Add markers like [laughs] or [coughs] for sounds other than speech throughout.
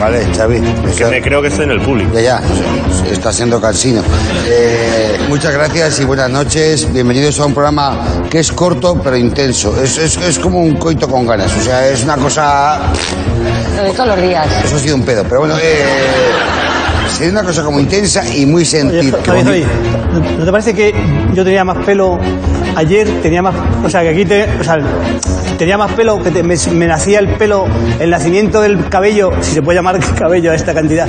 ¿Vale, Xavi? Que me creo que estoy en el público. Ya, ya, está siendo cansino. Eh, muchas gracias y buenas noches. Bienvenidos a un programa que es corto pero intenso. Es, es, es como un coito con ganas. O sea, es una cosa. Lo de todos los días. Eso ha sido un pedo, pero bueno. Eh... Sería una cosa como intensa y muy sentida. Oye, Javi, Javi, ¿no te parece que yo tenía más pelo ayer? Tenía más. O sea, que aquí te. O sea, tenía más pelo, que te- me, me nacía el pelo, el nacimiento del cabello, si se puede llamar [laughs] cabello a esta cantidad,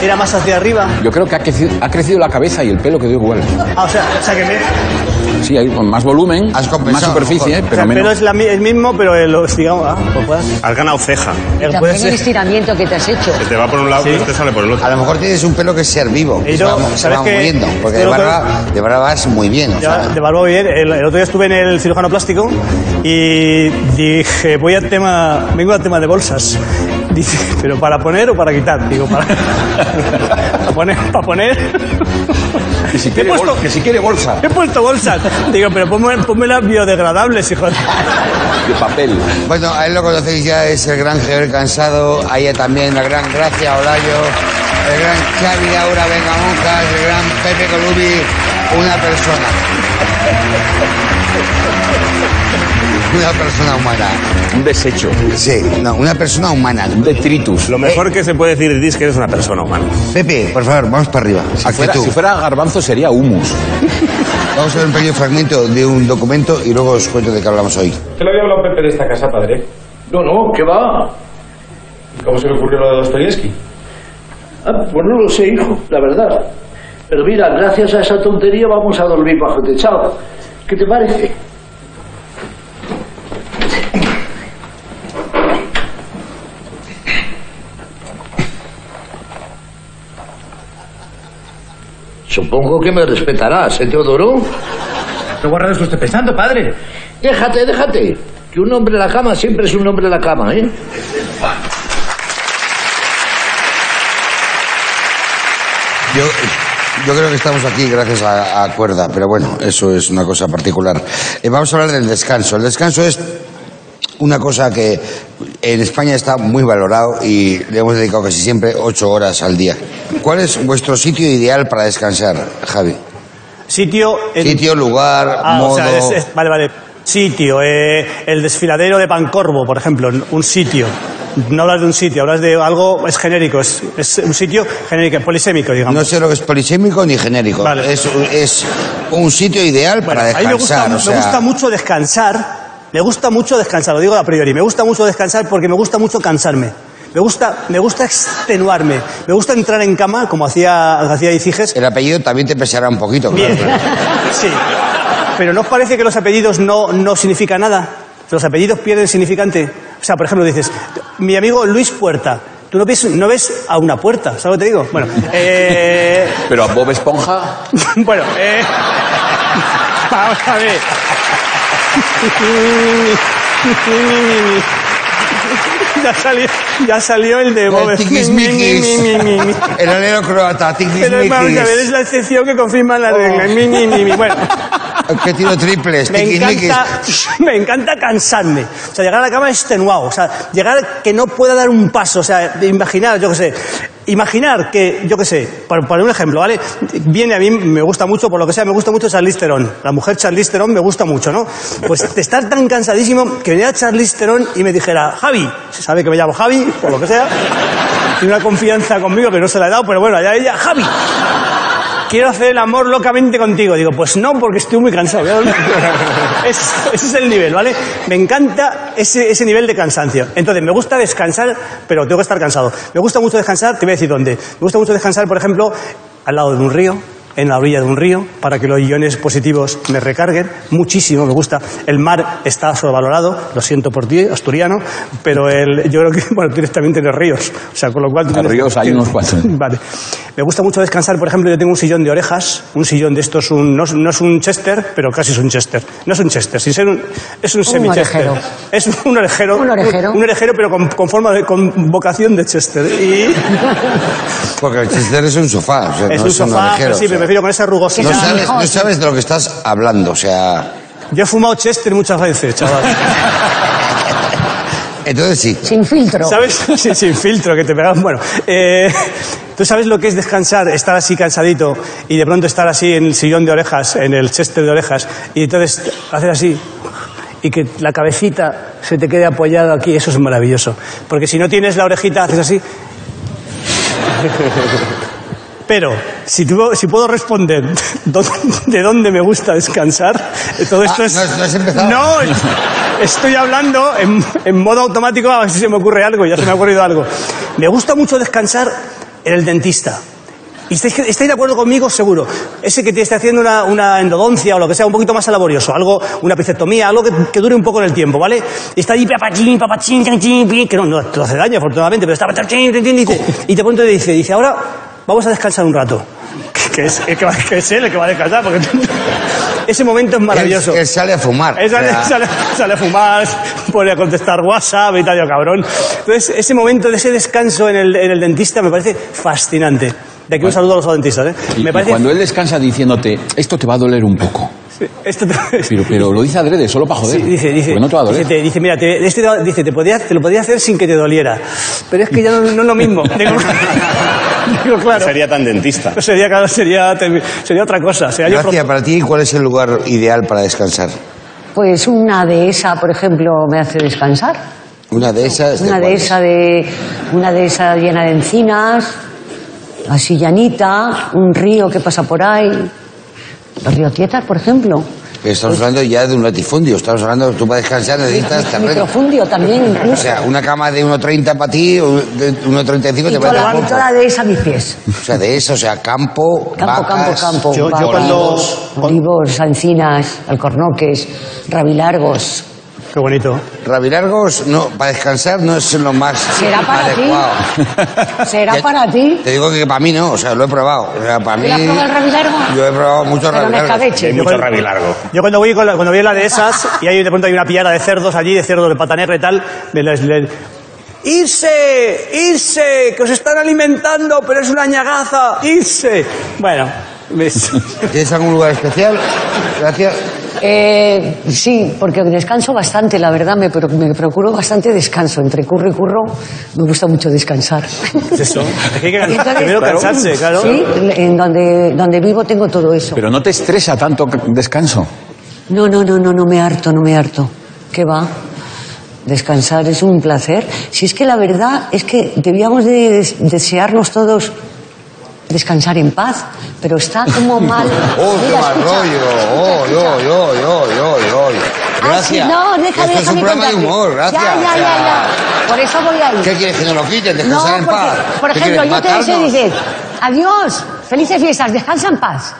era más hacia arriba. Yo creo que ha crecido, ha crecido la cabeza y el pelo quedó igual. Ah, o sea, o sea que me- Sí, hay con más volumen, Has compensado, más superficie, a lo mejor. o sea, pero el pelo menos. es la mi- el mismo, pero eh, los, digamos, ah, pues puedas- Has ganado ceja. eh, puede También el ser. estiramiento que te has hecho. Que te va por un lado y te sale por el otro. A lo mejor tienes un pelo que es ser vivo, que Y se no, va, se ¿sabes va qué? muriendo, porque de Yo lo barba, de barba vas muy bien. o Ya, sea. de barba bien. El, el otro día estuve en el cirujano plástico y dije, voy al tema, vengo al tema de bolsas. [laughs] Dice, ¿pero para poner o para quitar? Digo, para, [laughs] para poner, [laughs] para poner. Que si quiere, He puesto- bol- que si quiere bolsa, He puesto bolsas. Digo, pero ponme, ponme las biodegradables, hijo. de-". de papel. Bueno, a él lo conocéis ya, es el gran Javier Cansado, a ella también la gran Gracia Olayo, el gran Xavi Laura Vengamonjas, el gran Pepe Colubi, una persona. Una persona humana. Un desecho, Sí, no, una persona humana. un detritus. Lo mejor que se puede decir de ti es que eres una persona humana. Pepe, por favor, vamos para arriba. Si fuera, Actitud. si fuera garbanzo sería humus. Vamos a ver un pequeño fragmento de un documento y luego os cuento de qué hablamos hoy. ¿Qué le había hablado Pepe de esta casa, padre? No, no, ¿qué va? ¿Cómo se le ocurrió lo de Dostoyevsky? Ah, pues no lo sé, hijo, la verdad. Pero mira, gracias a esa tontería vamos a dormir bajo techado. ¿Qué te parece? Supongo que me respetarás, ¿eh, Teodoro? ¿Qué guarda está usted pensando, padre? Déjate, déjate. Que un hombre en la cama siempre es un hombre en la cama, ¿eh? Yo, yo creo que estamos aquí gracias a, a Cuerda, pero bueno, eso es una cosa particular. Eh, vamos a hablar del descanso. El descanso es una cosa que en España está muy valorado y le hemos dedicado casi siempre ocho horas al día. ¿Cuál es vuestro sitio ideal para descansar, Javi? Sitio. en- Sitio, lugar, Ah, modo. o sea, es- es- vale, vale. Sitio. eh, el desfiladero de Pancorvo, por ejemplo. Un sitio. No hablas de un sitio, hablas de algo, es genérico, es, es un sitio genérico, polisémico, digamos. No sé lo que es polisémico ni genérico. Vale. Es, es un sitio ideal Bueno, para a mí descansar. me gusta, o sea, me gusta mucho descansar. Me gusta mucho descansar, lo digo a priori. Me gusta mucho descansar porque me gusta mucho cansarme. Me gusta, me gusta extenuarme. Me gusta entrar en cama, como hacía, hacía Iciges. El apellido también te pesará un poquito. [laughs] Bien. claro. Sí. Pero ¿no os parece que los apellidos no, no significan nada? Los apellidos pierden significante. O sea, por ejemplo, dices, mi amigo Luis Puerta. Tú no ves, no ves a una puerta, ¿sabes lo que te digo? Bueno, eh... Pero a Bob Esponja, [laughs] Bueno, eh... vamos a ver. [laughs] Ya salió, ya salió el de Bob El tiquismiquis. [laughs] El alero croata, Pero vamos a ver, es tiquismiquis. la excepción que confirma la regla. Mi, mi, mi, mi. Bueno, Que tiro triples, me tiquismiquis. encanta, [laughs] me encanta cansarme. O sea, llegar a la cama extenuado. O sea, llegar que no pueda dar un paso. O sea, imaginar, yo qué sé. Imaginar que, yo qué sé, para poner un ejemplo, ¿vale? Viene a mí, me gusta mucho, por lo que sea, me gusta mucho Charlize Theron. La mujer Charlize Theron me gusta mucho, ¿no? Pues de estar tan cansadísimo que viniera Charlize Theron y me dijera, Javi, se sabe que me llamo Javi, por lo que sea. Tiene una confianza conmigo que no se la he dado, pero bueno, allá ella, Javi, quiero hacer el amor locamente contigo. Digo, pues no, porque estoy muy cansado. voy a dormir. Es- ese es el nivel, ¿vale? Me encanta ese, ese nivel de cansancio. Entonces, me gusta descansar, pero tengo que estar cansado. Me gusta mucho descansar, te voy a decir dónde. Me gusta mucho descansar, por ejemplo, al lado de un río, en la orilla de un río, para que los iones positivos me recarguen. Muchísimo me gusta. El mar está sobrevalorado, lo siento por ti, asturiano, pero el, yo creo que, [laughs] bueno, tú directamente los ríos. O sea, con lo cual... tú tienes- ríos hay unos cuantos. Vale. [laughs] Me gusta mucho descansar, por ejemplo, yo tengo un sillón de orejas, un sillón de estos, un- no, es- no es un chester, pero casi es un chester. No es un chester, sin ser un, es un, semi-chester. orejero. Es un orejero. Un orejero. Un, orejero, pero con, con forma de, con vocación de chester. Y Porque el chester es un sofá, o sea, no es un es un sofá, orejero, pero sí, o sea. me refiero con esa no rugosidad. sea sabes, mejor. no sabes de lo que estás hablando, o sea... Yo he fumado chester muchas veces, chaval. Entonces sí. Sin filtro. ¿Sabes? [laughs] Sí, sin filtro, que te pegaban. Bueno, eh, ¿tú sabes lo que es descansar, estar así cansadito y de pronto estar así en el sillón de orejas, en el cheste de orejas, y entonces hacer así y que la cabecita se te quede apoyada aquí? Eso es maravilloso. Porque si no tienes la orejita, [laughs] haces así. Pero, si, tuvo- si puedo responder [laughs] dó- de dónde me gusta descansar, todo esto Ah, es... no has- no has empezado. No, es- estoy hablando en, en modo automático a ver si se me ocurre algo, ya se me ha ocurrido algo. Me gusta mucho descansar en el dentista. Y estáis, estáis de acuerdo conmigo, seguro. Ese que te está haciendo una, una endodoncia o lo que sea, un poquito más laborioso, algo, una pisectomía, algo que, que dure un poco en el tiempo, ¿vale? Y está ahí, papachín, papachín, chan, chin, pi, que no, no te hace daño, afortunadamente, pero está papachín, chin, chin, y te- y de pronto te dice, dice, ahora vamos a descansar un rato. Que, [laughs] que es, que, va- que es él el que va a descansar, porque ese momento es maravilloso. Él, él sale a fumar. Él sale, O sea, sale- sale a fumar, [laughs] pone a contestar WhatsApp y tal, yo, cabrón. Entonces, ese momento de ese descanso en el, en el dentista me parece fascinante. De aquí un saludo a los dentistas, ¿eh? Y, me y parece... cuando él descansa diciéndote, esto te va a doler un poco. [laughs] Esto te- Pero, pero lo dice adrede, solo para joder. Sí, [laughs] dice, dice, Porque no te va a doler. dice, te- dice, mira, te, este te va- dice, te, podía, te lo podía hacer sin que te doliera. Pero es que ya no, no es lo mismo. Digo, [laughs] digo, claro. Sería tan dentista. No Sería, claro, sería, sería otra cosa. Sería yo pro- Gracias, para ti, ¿cuál es el lugar ideal para descansar? Pues una dehesa, por ejemplo, me hace descansar. Una de esas. este, Una cuál es? dehesa, de, una dehesa llena de encinas, así llanita, un río que pasa por ahí. Los río Tietas, por ejemplo. Estamos pues- hablando ya de un latifundio. Estamos hablando, tú para descansar necesitas [laughs] terreno. Microfundio también, O incluso. sea, una cama de 1,30 para ti, o de 1,35 Y te va a toda, dar la- y poco. toda la dehesa a mis pies. O sea, de eso, o sea, campo, Campo, vacas, campo, campo. yo- yo vacas, cuando- Olivos, encinas, alcornoques, rabilargos. Qué bonito. Rabilargos, no, para descansar no es lo más ¿Será para ti? [laughs] adecuado. ¿Será Ya- para ti? Te digo que para mí no, o sea, lo he probado. O sea, para mí... ¿Te has probado el rabilargo? Yo he probado muchos Pero no rabilargos. escabeche. Hay mucho rabilargo. Yo cuando voy, con la- cuando voy a la de esas y hay, de pronto hay una pillada de cerdos allí, de cerdos de pata negra y tal, de les- les- ¡Irse! ¡Irse! ¡Que os están alimentando, pero es una ñagaza! ¡Irse! Bueno, ves. ¿Tienes algún lugar especial? Gracias. Eh, sí, porque descanso bastante, la verdad, me, pro- me procuro bastante descanso. Entre curro y curro, me gusta [laughs] mucho descansar. eso. [laughs] Es que hay que cansar- Entonces, primero claro. cansarse, claro. Sí, en donde, donde vivo tengo todo eso. Pero no te estresa tanto c- descanso. No, no, no, no, no me harto, no me harto. ¿Qué va? Descansar es un placer. Si es que la verdad es que debíamos de des- desearnos todos descansar en paz, pero [laughs] está como mal. ¡Oh, qué Mira, mal escucha, rollo! escucha, ¡Oh, escucha. yo, yo, yo, yo, yo! Gracias. Ah, sí, no, déjame, Esto es un déjame programa de contarte. humor, gracias. Ya, ya, O ya, sea, ya. Por eso voy ahí. ¿Qué quieres que nos lo quiten? Descansar no, en porque, paz. Por ¿Qué ejemplo, quieres, yo te deseo y matarnos? dices, adiós, felices fiestas, descansa en paz.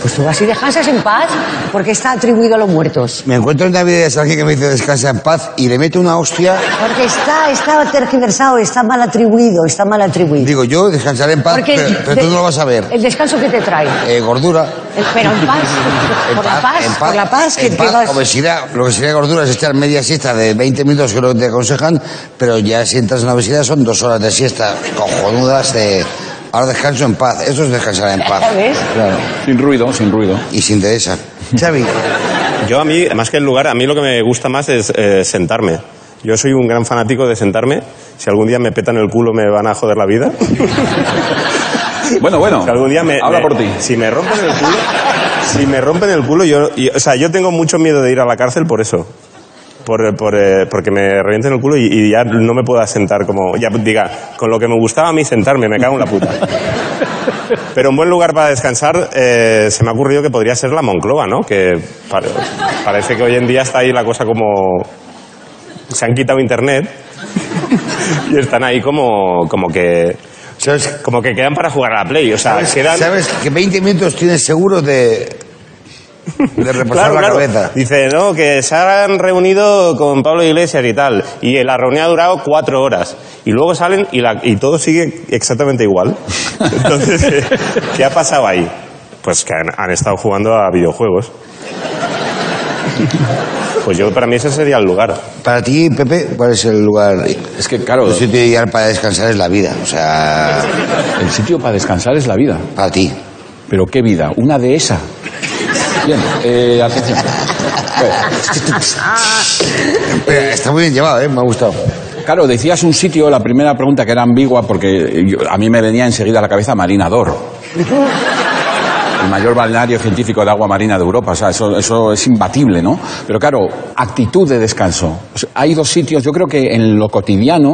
Pues tú vas y descansas en paz porque está atribuido a los muertos. Me encuentro en Navidades alguien que me dice descansa en paz y le meto una hostia. Porque está, está tergiversado, está mal atribuido, está mal atribuido. Digo, yo descansaré en paz, Porque pero, el- pero tú no lo vas a ver. El descanso que te trae. Eh, gordura. El- Pero [laughs] en paz, En por la paz, en por la paz que, en que vas. Obesidad, lo que sería gordura es echar media siesta de 20 minutos, que es lo que te aconsejan, pero ya si entras en obesidad son dos horas de siesta cojonudas de. Ahora descanso en paz. Eso es descansar en paz. ¿Ves? Claro. Sin ruido, sin ruido. Y sin interesa. Xavi, Yo a mí, más que el lugar, a mí lo que me gusta más es eh, sentarme. Yo soy un gran fanático de sentarme. Si algún día me petan el culo, me van a joder la vida. Bueno, bueno. [laughs] Si algún día me, Habla me- por ti. Si me rompen el culo, si me rompen el culo, yo, y- o sea, yo tengo mucho miedo de ir a la cárcel por eso. Por, por, eh, porque me revienten el culo y, y ya no me pueda sentar como, ya diga, con lo que me gustaba a mí sentarme, me cago en la puta. Pero un buen lugar para descansar eh, se me ha ocurrido que podría ser la Moncloa, ¿no? Que pare- parece que hoy en día está ahí la cosa como... Se han quitado internet y están ahí como, como que... ¿sabes, Como que quedan para jugar a la Play, o sea, quedan... sabes que 20 minutos tienes seguro de. de reposar Claro, la claro. cabeza? Dice, no, que se han reunido con Pablo Iglesias y tal. Y la reunión ha durado cuatro horas. Y luego salen y, la- y todo sigue [laughs] exactamente igual. Entonces, ¿qué, qué ha pasado ahí? Pues que han, han estado jugando a videojuegos. Pues yo, para mí, ese sería el lugar. Para ti, Pepe, ¿cuál es el lugar? Es que, claro, El Pues sitio ideal para descansar es la vida. O sea, el sitio para descansar es la vida. para ti. Pero qué vida, una dehesa. Bien, eh, atención. Pero está muy bien llevado, ¿eh? Me ha gustado. Claro, decías un sitio, la primera pregunta que era ambigua, porque yo- a mí me venía enseguida a la cabeza Marinador. El mayor balneario científico de agua marina de Europa, o sea, eso, eso es imbatible, ¿no? Pero claro, actitud de descanso. O sea, hay dos sitios, yo creo que en lo cotidiano,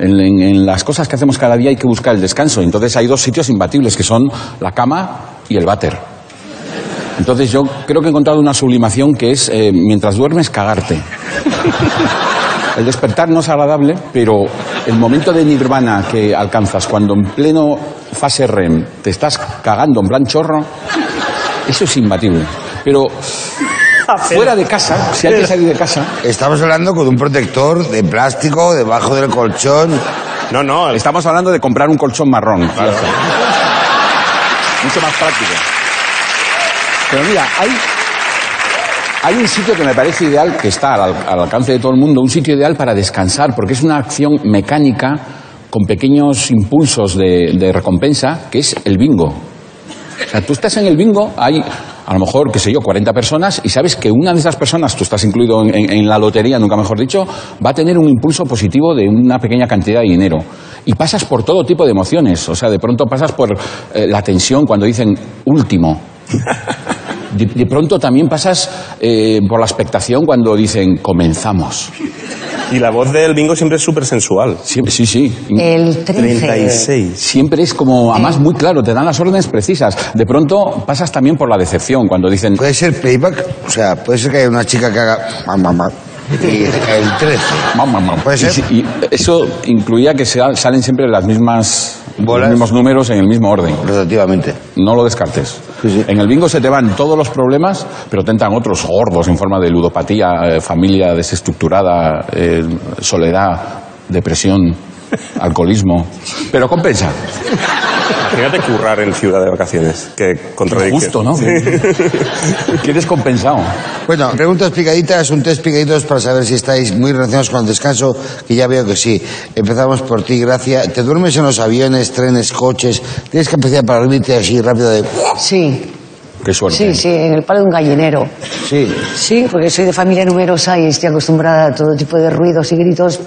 en, en- en las cosas que hacemos cada día hay que buscar el descanso. Entonces hay dos sitios imbatibles, que son la cama y el váter. Entonces yo creo que he encontrado una sublimación que es, eh, mientras duermes, cagarte. El despertar no es agradable, pero el momento de nirvana que alcanzas cuando en pleno fase REM te estás cagando en plan chorro, eso es imbatible. Pero fuera de casa, si hay que salir de casa, Estamos hablando con un protector de plástico debajo del colchón. No, no, el- estamos hablando de comprar un colchón marrón. Mucho más práctico. Pero mira, hay, hay un sitio que me parece ideal, que está al, al alcance de todo el mundo, un sitio ideal para descansar, porque es una acción mecánica con pequeños impulsos de, de recompensa, que es el bingo. O sea, tú estás en el bingo, hay a lo mejor, qué sé yo, 40 personas, y sabes que una de esas personas, tú estás incluido en, en- en la lotería, nunca mejor dicho, va a tener un impulso positivo de una pequeña cantidad de dinero. Y pasas por todo tipo de emociones. O sea, de pronto pasas por eh, la tensión cuando dicen último. De, de pronto también pasas eh, por la expectación cuando dicen comenzamos. y la voz del bingo siempre es súper sensual. Sí, sí, sí. El 13. 36. Siempre es como, además, muy claro, te dan las órdenes precisas. De pronto pasas también por la decepción cuando dicen ¿Puede ser playback? O sea, puede ser que haya una chica que haga... ma, ma, ma, Y el 13. "Mam, mam, mam". ¿Puede Y ser? si- y eso incluía que se- salen siempre las mismas, los Bolas. mismos números en el mismo orden. Relativamente. No lo descartes. Sí, sí. En el bingo se te van todos los problemas, pero te entran otros gordos en forma de ludopatía, eh, familia desestructurada, eh, soledad, [laughs] depresión, alcoholismo. Pero compensa. Fíjate currar en ciudad de vacaciones. Qué contradicción. Justo, ¿no? Que eres compensado. Bueno, preguntas picaditas, un test picaditos para saber si estáis muy relacionados con el descanso, que ya veo que sí. Empezamos por ti, Gracia. ¿Te duermes en los aviones, trenes, coches? ¿Tienes capacidad para dormirte así rápido de... Sí, Qué suerte. sí, sí, en el palo de un gallinero. Sí. Sí, porque soy de familia numerosa y estoy acostumbrada a todo tipo de ruidos y gritos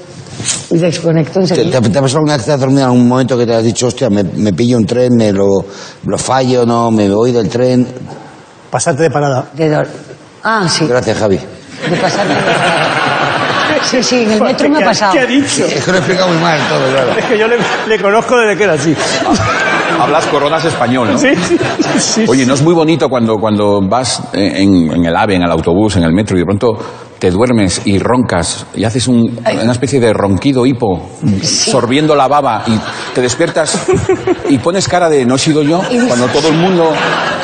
y desconecto ¿Te, te, enseguida. te ha pasado alguna vez que te has dormido en algún momento que te has dicho, hostia, me, me pillo un tren, me lo, lo fallo, no, me voy del tren? Pasarte de parada. De dor- Ah, sí, Gracias, Javi. de pasar. Sí, sí, en el metro me ha ¿Qué pasado. ¿Qué ha dicho? Es que lo he explicado muy mal todo, claro. Es que yo le, le conozco desde que era así. Hablas coronas español, ¿no? Sí, sí, sí. Oye, ¿no es muy bonito cuando, cuando vas eh, en, en el AVE, en el autobús, en el metro y de pronto te duermes y roncas y haces un- una especie de ronquido hipo, sorbiendo la baba y te despiertas y pones cara de no he sido yo cuando todo el mundo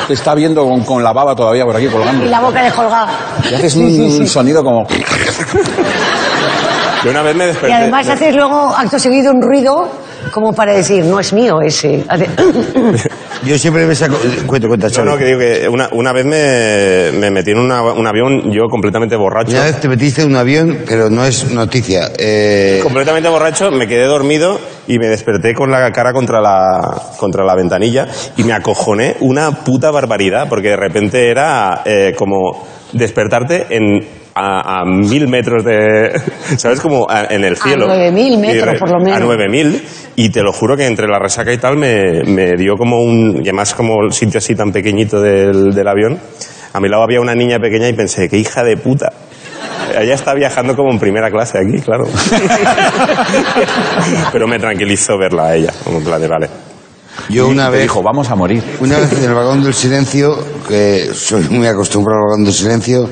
te está viendo con, con la baba todavía por aquí colgando? Y la boca descolgada. Y haces un, un sonido como... Yo una vez me desperté. Y además Pues de- haces luego acto seguido un ruido como para decir, no es mío ese. Hace- [coughs] Yo siempre me saco... Cuenta, cuenta, No, Xavi. no, que digo que una, una vez me, me metí en una- un avión yo completamente borracho. Una vez te metiste en un avión, pero no es noticia. Eh, Completamente borracho, me quedé dormido y me desperté con la cara contra la, contra la ventanilla y me acojoné una puta barbaridad, porque de repente era eh, como despertarte en... A, a mil metros de. [laughs] ¿Sabes? Como a- en el cielo. 9.000 Y metros, re- por lo menos. A 9.000. Y te lo juro que entre la resaca y tal me, me dio como un. Y además, como el sitio así tan pequeñito del, del avión. A mi lado había una niña pequeña y pensé, qué hija de puta. Ella está viajando como en primera clase aquí, [laughs] claro. Pero me tranquilizó verla a ella, como en plan de, vale. yo una Te vez... dijo, vamos a morir. Una vez en el vagón del silencio, que soy muy acostumbrado al vagón del silencio,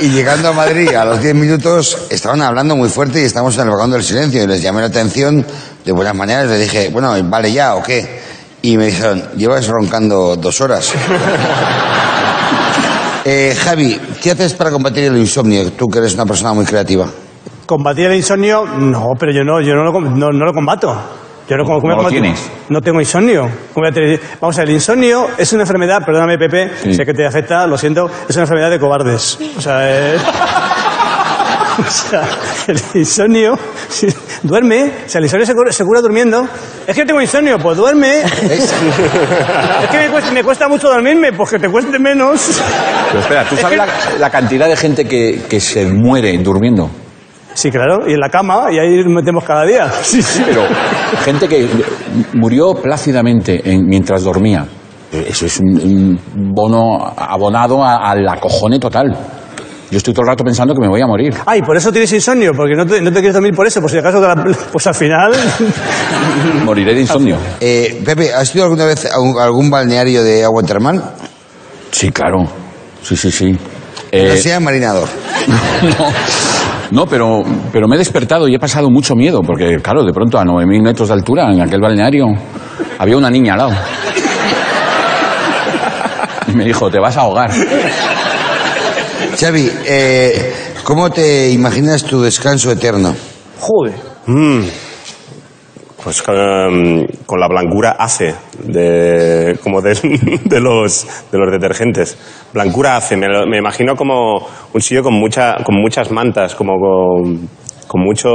y llegando a Madrid a los 10 minutos estaban hablando muy fuerte y estamos en el vagón del silencio y les llamé la atención de buenas maneras, les dije, bueno, vale ya o qué. Y me dijeron, llevas roncando dos horas. Eh, Javi, ¿qué haces para combatir el insomnio? Tú que eres una persona muy creativa. ¿Combatir el insomnio? No, pero yo no, yo no lo, com- no, no lo combato. Yo no, como- No lo combato- tienes. No tengo insomnio. ¿Cómo voy a tener- Vamos a ver, el insomnio es una enfermedad, perdóname Pepe, Sí. sé que te afecta, lo siento, es una enfermedad de cobardes. O sea, eh, [laughs] O sea, el insomnio. sí, duerme. O sea, el insomnio se cura, se cura durmiendo. Es que tengo insomnio, pues duerme. [laughs] ¿Ves? Es que me cuesta, me cuesta mucho dormirme, pues que te cueste menos. Pero espera, ¿tú Es sabes que- la, la cantidad de gente que, que se muere durmiendo? Sí, claro, y en la cama, y ahí nos metemos cada día. Sí, sí. Pero gente que murió plácidamente en- mientras dormía. Eh, Eso es un, un bono abonado a, a la cojone total. Yo estoy todo el rato pensando que me voy a morir. Ay, por eso tienes insomnio, porque no te, no te quieres dormir por eso, por si acaso, te la- pues al final. Moriré de insomnio. Eh, Pepe, ¿has ido alguna vez a un- algún balneario de agua termal? Sí, claro. Sí, sí, sí. No Eh, sea marinador. [laughs] No, no pero, pero me he despertado y he pasado mucho miedo, porque claro, de pronto a 9.000 metros de altura en aquel balneario había una niña al lado. Y me dijo, te vas a ahogar. Xavi, eh, ¿cómo te imaginas tu descanso eterno? Joder. Mm. Pues con, con la blancura hace, de, como de, [laughs] de los, de los detergentes. Blancura hace, me, lo- me imagino como un sitio con, mucha, con muchas mantas, como con, con mucho,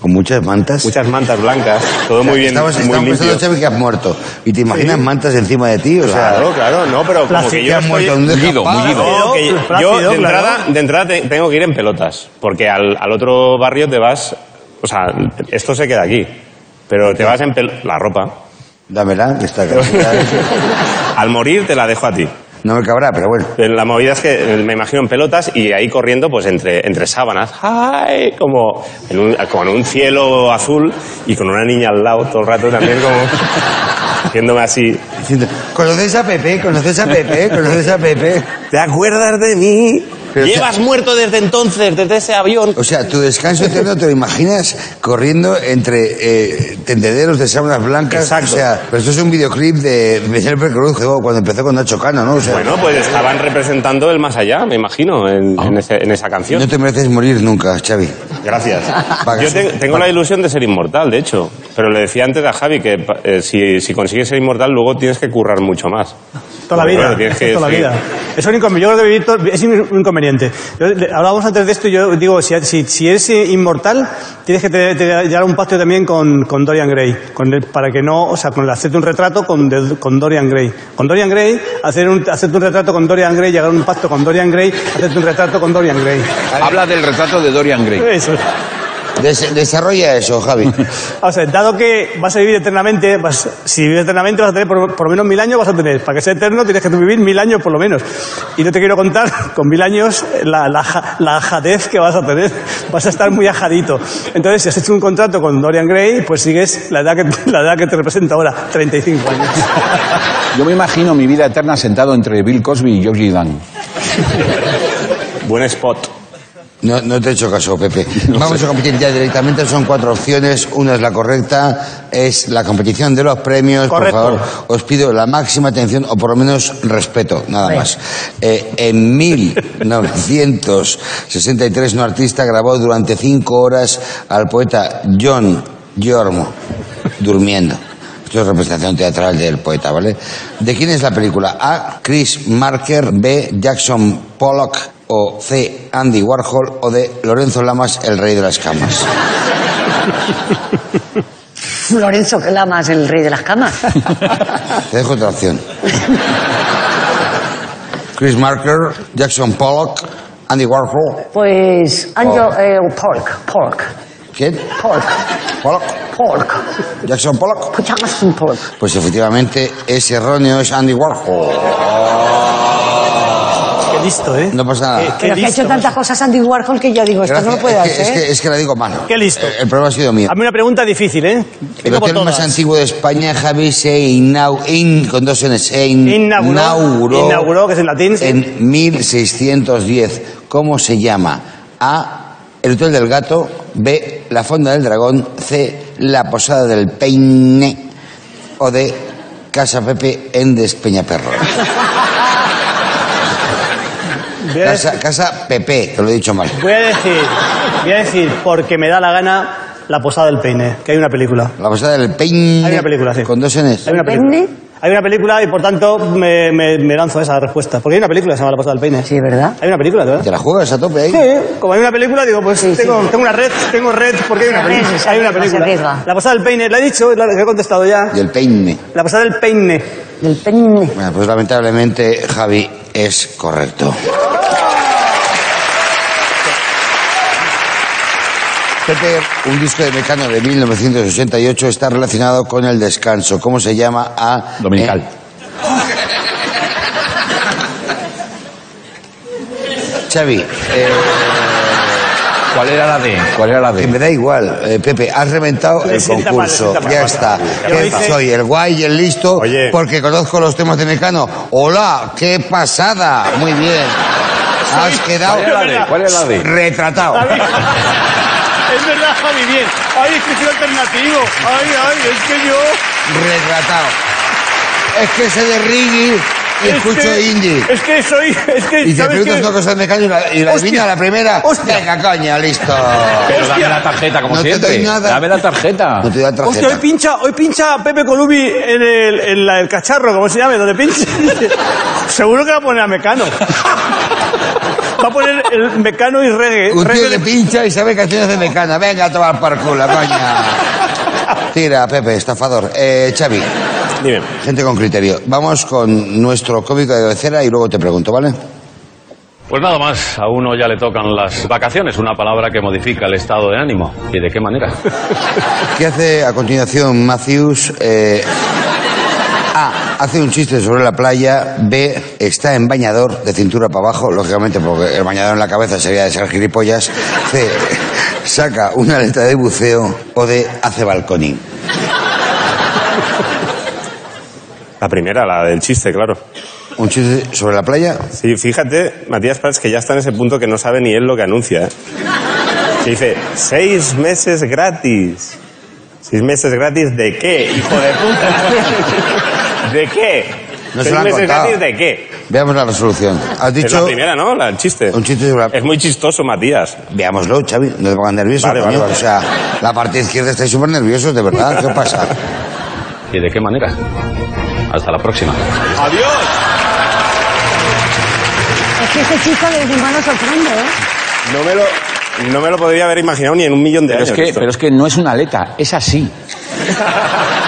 ¿Con muchas mantas? muchas mantas blancas, todo muy bien, Estabas- muy estábamos limpio. pensando, Xavi, que has muerto. ¿Y te imaginas mantas encima de ti? O sea, Claro, claro, no, pero como que que yo has estoy... muerto en un mullido, descampado. mullido. No, que yo- Plácido, yo de claro. entrada, de entrada te- tengo que ir en pelotas, porque al, al otro barrio te vas, o sea, esto se queda aquí, pero te vas en pel- la ropa. Dámela, que está acá. [laughs] al morir te la dejo a ti. No me cabrá, pero bueno. La movida es que eh, me imagino en pelotas y ahí corriendo pues entre, entre sábanas, ¡ay! Como en un, con un cielo azul y con una niña al lado todo el rato también como [laughs] haciéndome así. Diciendo, ¿Conoces a Pepe? ¿Conoces a Pepe? ¿Conoces a Pepe? ¿Te acuerdas de mí? Pero- Llevas muerto desde entonces, desde ese avión. O sea, tu descanso eterno te lo imaginas corriendo entre eh, tendederos de sábanas blancas. Exacto. O sea, pero esto es un videoclip de Michel Percruz cuando empezó con Nacho Cano, ¿no? O sea, Bueno, pues estaban representando el más allá, me imagino, en, en ese- en esa canción. Ah. no te mereces morir nunca, Xavi. Gracias. Vaga, Yo sí. te- tengo la ilusión de ser inmortal, de hecho. Pero le decía antes a Javi que pa- eh, si, si consigues ser inmortal, luego tienes que currar mucho más. Toda la Porque, vida. claro, tienes que- toda la sí. vida. Es un inconveniente. Yo creo que vivir to- es un inconveniente. Yo- le- hablábamos antes de esto y yo digo, si, si, si eres eh, inmortal, tienes que te- te- llegar a un pacto también con, con Dorian Gray. Con el- para que no, o sea, con el- hacerte un retrato con, de- con Dorian Gray. Con Dorian Gray, hacer un, hacerte un retrato con Dorian Gray, llegar a un pacto con Dorian Gray, hacerte un retrato con Dorian Gray. Habla del retrato de Dorian Gray. Eso. Des- desarrolla eso, Javi. O sea, dado que vas a vivir eternamente, vas- si vives eternamente vas a tener por, por lo menos mil años, vas a tener. Para que sea eterno tienes que vivir mil años por lo menos. Y no te quiero contar [laughs] con mil años la, la, ja- la ajadez que vas a tener. [laughs] Vas a estar muy ajadito. Entonces, si has hecho un contrato con Dorian Gray, pues sigues la edad que, [laughs] la edad que te representa ahora, 35 [laughs] años. Yo me imagino mi vida eterna sentado entre Bill Cosby y George Dan. Buen spot. [laughs] No, no te he hecho caso, [laughs] Pepe. Vamos a competir ya directamente. Son cuatro opciones. Una es la correcta. Es la competición de los premios. Correcto. Por favor, os pido la máxima atención o por lo menos respeto, nada más. Eh, en 1963, un artista grabó durante cinco horas al poeta John Giormo durmiendo. Esto es representación teatral del poeta, ¿vale? ¿De quién es la película? A. Chris Marker, B. Jackson Pollock, o C. Andy Warhol, o D. Lorenzo Lamas, el rey de las camas. Lorenzo Lamas, el rey de las camas. Te dejo otra opción. Chris Marker, Jackson Pollock, Andy Warhol. Pues Angel eh, Pork, Pork, ¿Quién? Pork, Pollock. Pork, Jackson Pollock. Jackson Pork. Pues efectivamente es erróneo, es Andy Warhol. Qué listo, ¿eh? No pasa nada. Qué Pero que ha hecho listo. tantas cosas Andy Warhol que ya digo, esto no lo puede es, que, es, hacer. que, es que la digo mal. ¿eh? Qué listo. Eh, El problema ha sido mío. Hazme una pregunta difícil, ¿eh? El Vengo por hotel más todas. antiguo de España, Javi, se inau- in- con dos Ns, se in- Inauguró. Inauguró, que es en latín, sí. en 1610. ¿Cómo se llama? A. El Hotel del Gato. B. La Fonda del Dragón. C. La Posada del Peine. O D. Casa Pepe en Despeñaperro. Voy a- Casa, casa Pepe, te lo he dicho mal. Voy a decir, voy a decir, porque me da la gana, La Posada del Peine, que hay una película. La Posada del Peine. Hay una película, sí. Con dos Ns. Hay una película. ¿Peine? Hay una película y por tanto me, me- me lanzo a esa respuesta. Porque hay una película que se llama La Pasada del Peine. Sí, ¿verdad? Hay una película, ¿verdad? ¿Te la juegas a tope ahí? Sí, como hay una película, digo, pues Sí, sí. tengo, tengo una red, tengo red, porque hay una Se película. arriesga, se hay una arriesga, se película. arriesga. La pasada del peine, la he dicho, la la he contestado ya. Y el peine. La pasada del peine. Del peine. Bueno, pues lamentablemente, Javi, es correcto. Pepe, un disco de Mecano de 1988 está relacionado con el descanso. ¿Cómo se llama? A... Dominical. Eh, Xavi, eh, ¿Cuál era la D? ¿Cuál era la que D? me da igual. Eh, Pepe, has reventado el 60 palos, concurso. 60 palos. ya está. Yo lo Que hice. Soy el guay y el listo Oye. porque conozco los temas de Mecano. Hola, qué pasada. Muy bien. Has quedado ¿Cuál era la D? [laughs] ¿Cuál era la D? retratado. Javi. es verdad, Javi, bien. Ay, es que soy alternativo. Ay, ay, es que yo... Retratado. Es que sé de Riggy y es escucho que- indie. Es que soy... Es que, Y te ¿sabes preguntas qué? una cosa de Mecano y la, y la Hostia. adivina a la primera. Hostia. Venga, coña, listo. Pero dame la tarjeta, como No te siempre. doy nada. Dame la tarjeta. No te da tarjeta. Hostia, hoy pincha, hoy pincha Pepe Colubi en el, en la- el cacharro, ¿cómo se llama? ¿Dónde pincha? [laughs] Seguro que va a poner a Mecano. Va a poner el Mecano y reggae. Un tío reggae le pincha y sabe canciones de Mecano. Venga a tomar por culo, coña. Tira, Pepe, estafador. Eh, Xavi, Dime. gente con criterio. Vamos con nuestro cómico de cabecera y luego te pregunto, ¿vale? Pues nada más, a uno ya le tocan las vacaciones, una palabra que modifica el estado de ánimo. ¿Y de qué manera? [laughs] ¿Qué hace a continuación Matthews? Eh, A. Hace un chiste sobre la playa. B. Está en bañador, de cintura para abajo, lógicamente, porque el bañador en la cabeza sería de ser gilipollas. C. Saca una letra de buceo. O D. Hace balconing. La primera, la del chiste, claro. Un chiste sobre la playa. Sí, fíjate, Matías Prats, que ya está en ese punto que no sabe ni él lo que anuncia. ¿eh? Que dice, seis meses gratis. ¿Seis meses gratis de qué, hijo de puta? ¿De qué? No se ¿Seis lo han meses contado. gratis de qué? Veamos la resolución. Has Es la dicho. primera, ¿no? La, el chiste. Un chiste sobre la. Es muy chistoso, Matías. Veámoslo, Xavi, no te pongas nervioso. Vale, vale, coño. vale. O sea, la parte izquierda estáis súper nerviosos, de verdad. ¿Qué os pasa? ¿Y de qué manera? Hasta la próxima. ¡Adiós! Es que ese chico de humano sorprende, ¿eh? No me lo, no me lo podría haber imaginado ni en un millón de Pero es, años. que, esto. pero es que no es una aleta, [laughs] es así.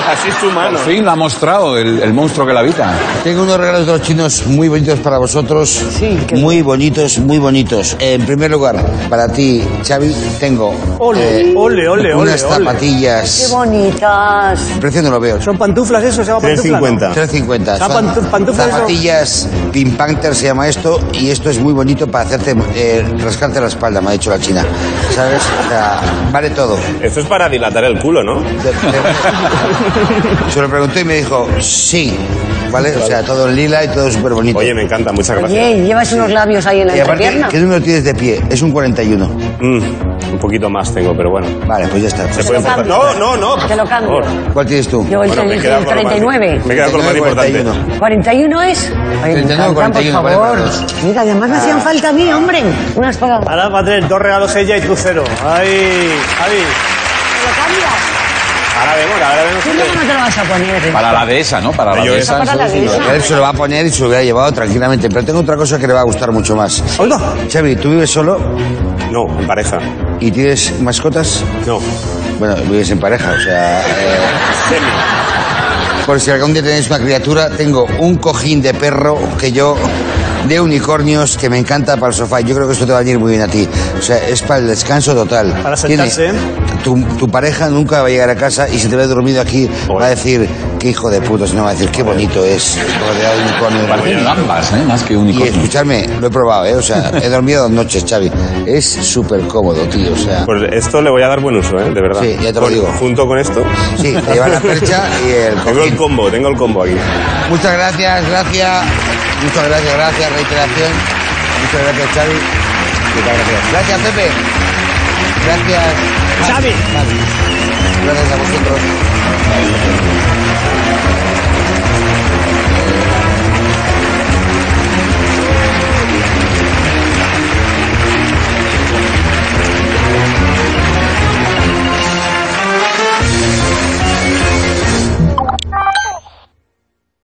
Así es su Por mano. fin lo ha mostrado el, el monstruo que la habita. Tengo unos regalos de los chinos muy bonitos para vosotros. Sí, qué Muy bonitos, muy bonitos. En primer lugar, para ti, Xavi, tengo eh, Ole, ole, ole, ole, unas ole. Qué zapatillas. bonitas. El precio no lo veo. Son ¿Son pantuflas eso? ¿Se llama pantufla? 3.50. 3.50. Ah, pantu- Son pantuflas, zapatillas Pink Panther se llama esto y esto es muy bonito para hacerte eh, rascarte la espalda, me ha dicho la china. ¿Sabes? O sea, vale todo. Esto es para dilatar el culo, ¿no? De- de- Se lo pregunté y me dijo, sí. ¿Vale? O sea, todo en lila y todo súper bonito. Oye, me encanta, muchas gracias. Oye, llevas unos labios ahí en la Y aparte, entrepierna. ¿qué número tienes de pie? Es un 41. Mm, un poquito más tengo, pero bueno. Vale, pues ya está. Se puede lo empezar. cambio. No, no, no. por Te lo cambio. favor. ¿Cuál tienes tú? Yo el, Bueno, me el- queda el por lo más- ¿eh? 39. me queda por lo más 39, importante. 41 es. Ay, me 39, encantan, 41, por vale para favor. dos. Mira, además me hacían falta a mí, hombre. Unas para. ¿Lo Ahora va a tener dos regalos ella y tú cero. Ay, Javi. cambias? Ahora vemos, ahora vemos. Tú luego no te lo vas a poner. ¿eh? Para la dehesa, ¿no? Para la Yo- dehesa. Para la eso sí, dehesa. ¿no? Él se lo va a poner y se lo hubiera llevado tranquilamente. Pero tengo otra cosa que le va a gustar mucho más. Oiga. Xavi, ¿tú vives solo No, en pareja. y tienes mascotas? No. Bueno, vives en pareja, o sea... eh, por si algún día tenéis una criatura, tengo un cojín de perro que yo... De unicornios que me encanta para el sofá. Yo creo que esto te va a venir muy bien a ti. O sea, es para el descanso total. Para Tiene- sentarse. tu, tu pareja nunca va a llegar a casa y si te ve dormido aquí va a decir, qué hijo de puto, no va a decir, qué bonito es. rodeado de unicornios". Parecen gambas, ¿eh? Más que Y unicornio. escucharme, lo he probado, ¿eh? O sea, he dormido dos noches, Xavi. Es súper cómodo, tío. O sea, Pues esto le voy a dar buen uso, ¿eh? De verdad. Sí, ya te lo Con- digo. Junto con esto. sí, te lleva la percha y [laughs] el Tengo el cojín. combo, tengo el combo aquí. Muchas gracias, gracias. Muchas gracias, gracias, reiteración. Muchas gracias, Xavi. Muchas gracias. Gracias, Pepe. Gracias. Xavi. Gracias a vosotros.